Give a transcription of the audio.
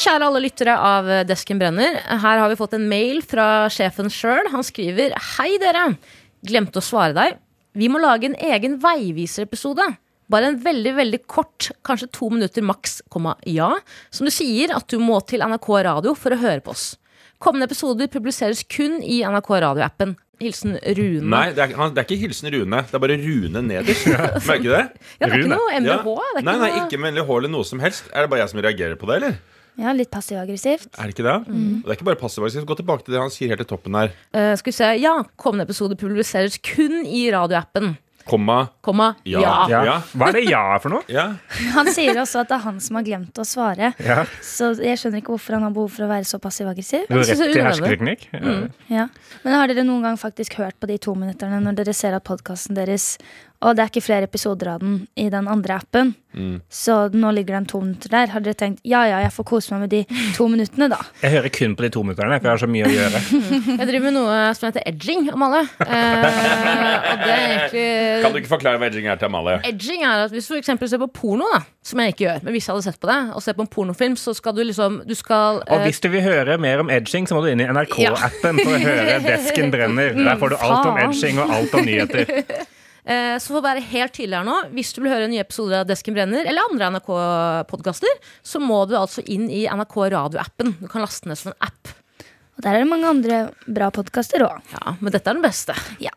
Kjære alle lyttere av Desken brenner. Her har vi fått en mail fra sjefen sjøl. Han skriver Hei, dere. Glemte å svare deg. Vi må lage en egen veiviserepisode. Bare en veldig veldig kort, kanskje to minutter maks, komma, ja, som du sier at du må til NRK Radio for å høre på oss. Kommende episoder publiseres kun i NRK Radio-appen. Hilsen Rune. Nei, det er, han, det er ikke hilsen Rune. Det er bare Rune nederst. Merker du det? ja, det er Rune. ikke noe Ja. MDH. Det er Nei, nei, noe- ikke med hår eller noe som helst. Er det bare jeg som reagerer på det, eller? Ja, litt passiv-aggressivt. Er det ikke det? Mm. Og det er ikke bare passiv-aggressivt. Gå tilbake til det han sier helt til toppen her. Eh, skal vi se. Ja, kommende episode publiseres kun i radioappen. Komma. Komma, Ja. ja. Ja. Ja. Hva er det ja er for noe? Ja. Han sier også at det er han som har glemt å svare. Ja. Så jeg skjønner ikke hvorfor han har behov for å være så passiv-aggressiv. Du er synes det rett er i Mm. hersketeknikk? Ja. Ja. Men har dere noen gang faktisk hørt på de to minutterne når dere ser at podkasten deres Og det er ikke flere episoder av den i den andre appen, så nå ligger den to minutter der. Har dere tenkt ja ja, jeg får kose meg med de to minuttene, da? Jeg hører kun på de to minutterne, for jeg har så mye å gjøre. Jeg driver med noe som heter edging, Amalie. Eh, og det er Kan du egentlig ikke forklare hva edging er til Amalie? Edging er at hvis du for eksempel ser på porno, da, som jeg ikke gjør, men hvis jeg hadde sett på det, og ser på en pornofilm, så skal du liksom Du skal Og eh, hvis du vil høre mer om edging, så må du inn i NRK-appen for å høre Desken brenner. Der får du alt om faen. edging og alt om nyheter. eh, Så for å være helt tydelig her nå, hvis du vil høre nye episoder av Desken brenner, eller andre NRK-podkaster, så må du altså inn i NRK radioappen. Du kan laste ned som en app. Og der er det mange andre bra podkaster òg. Ja, Men dette er den beste. Ja.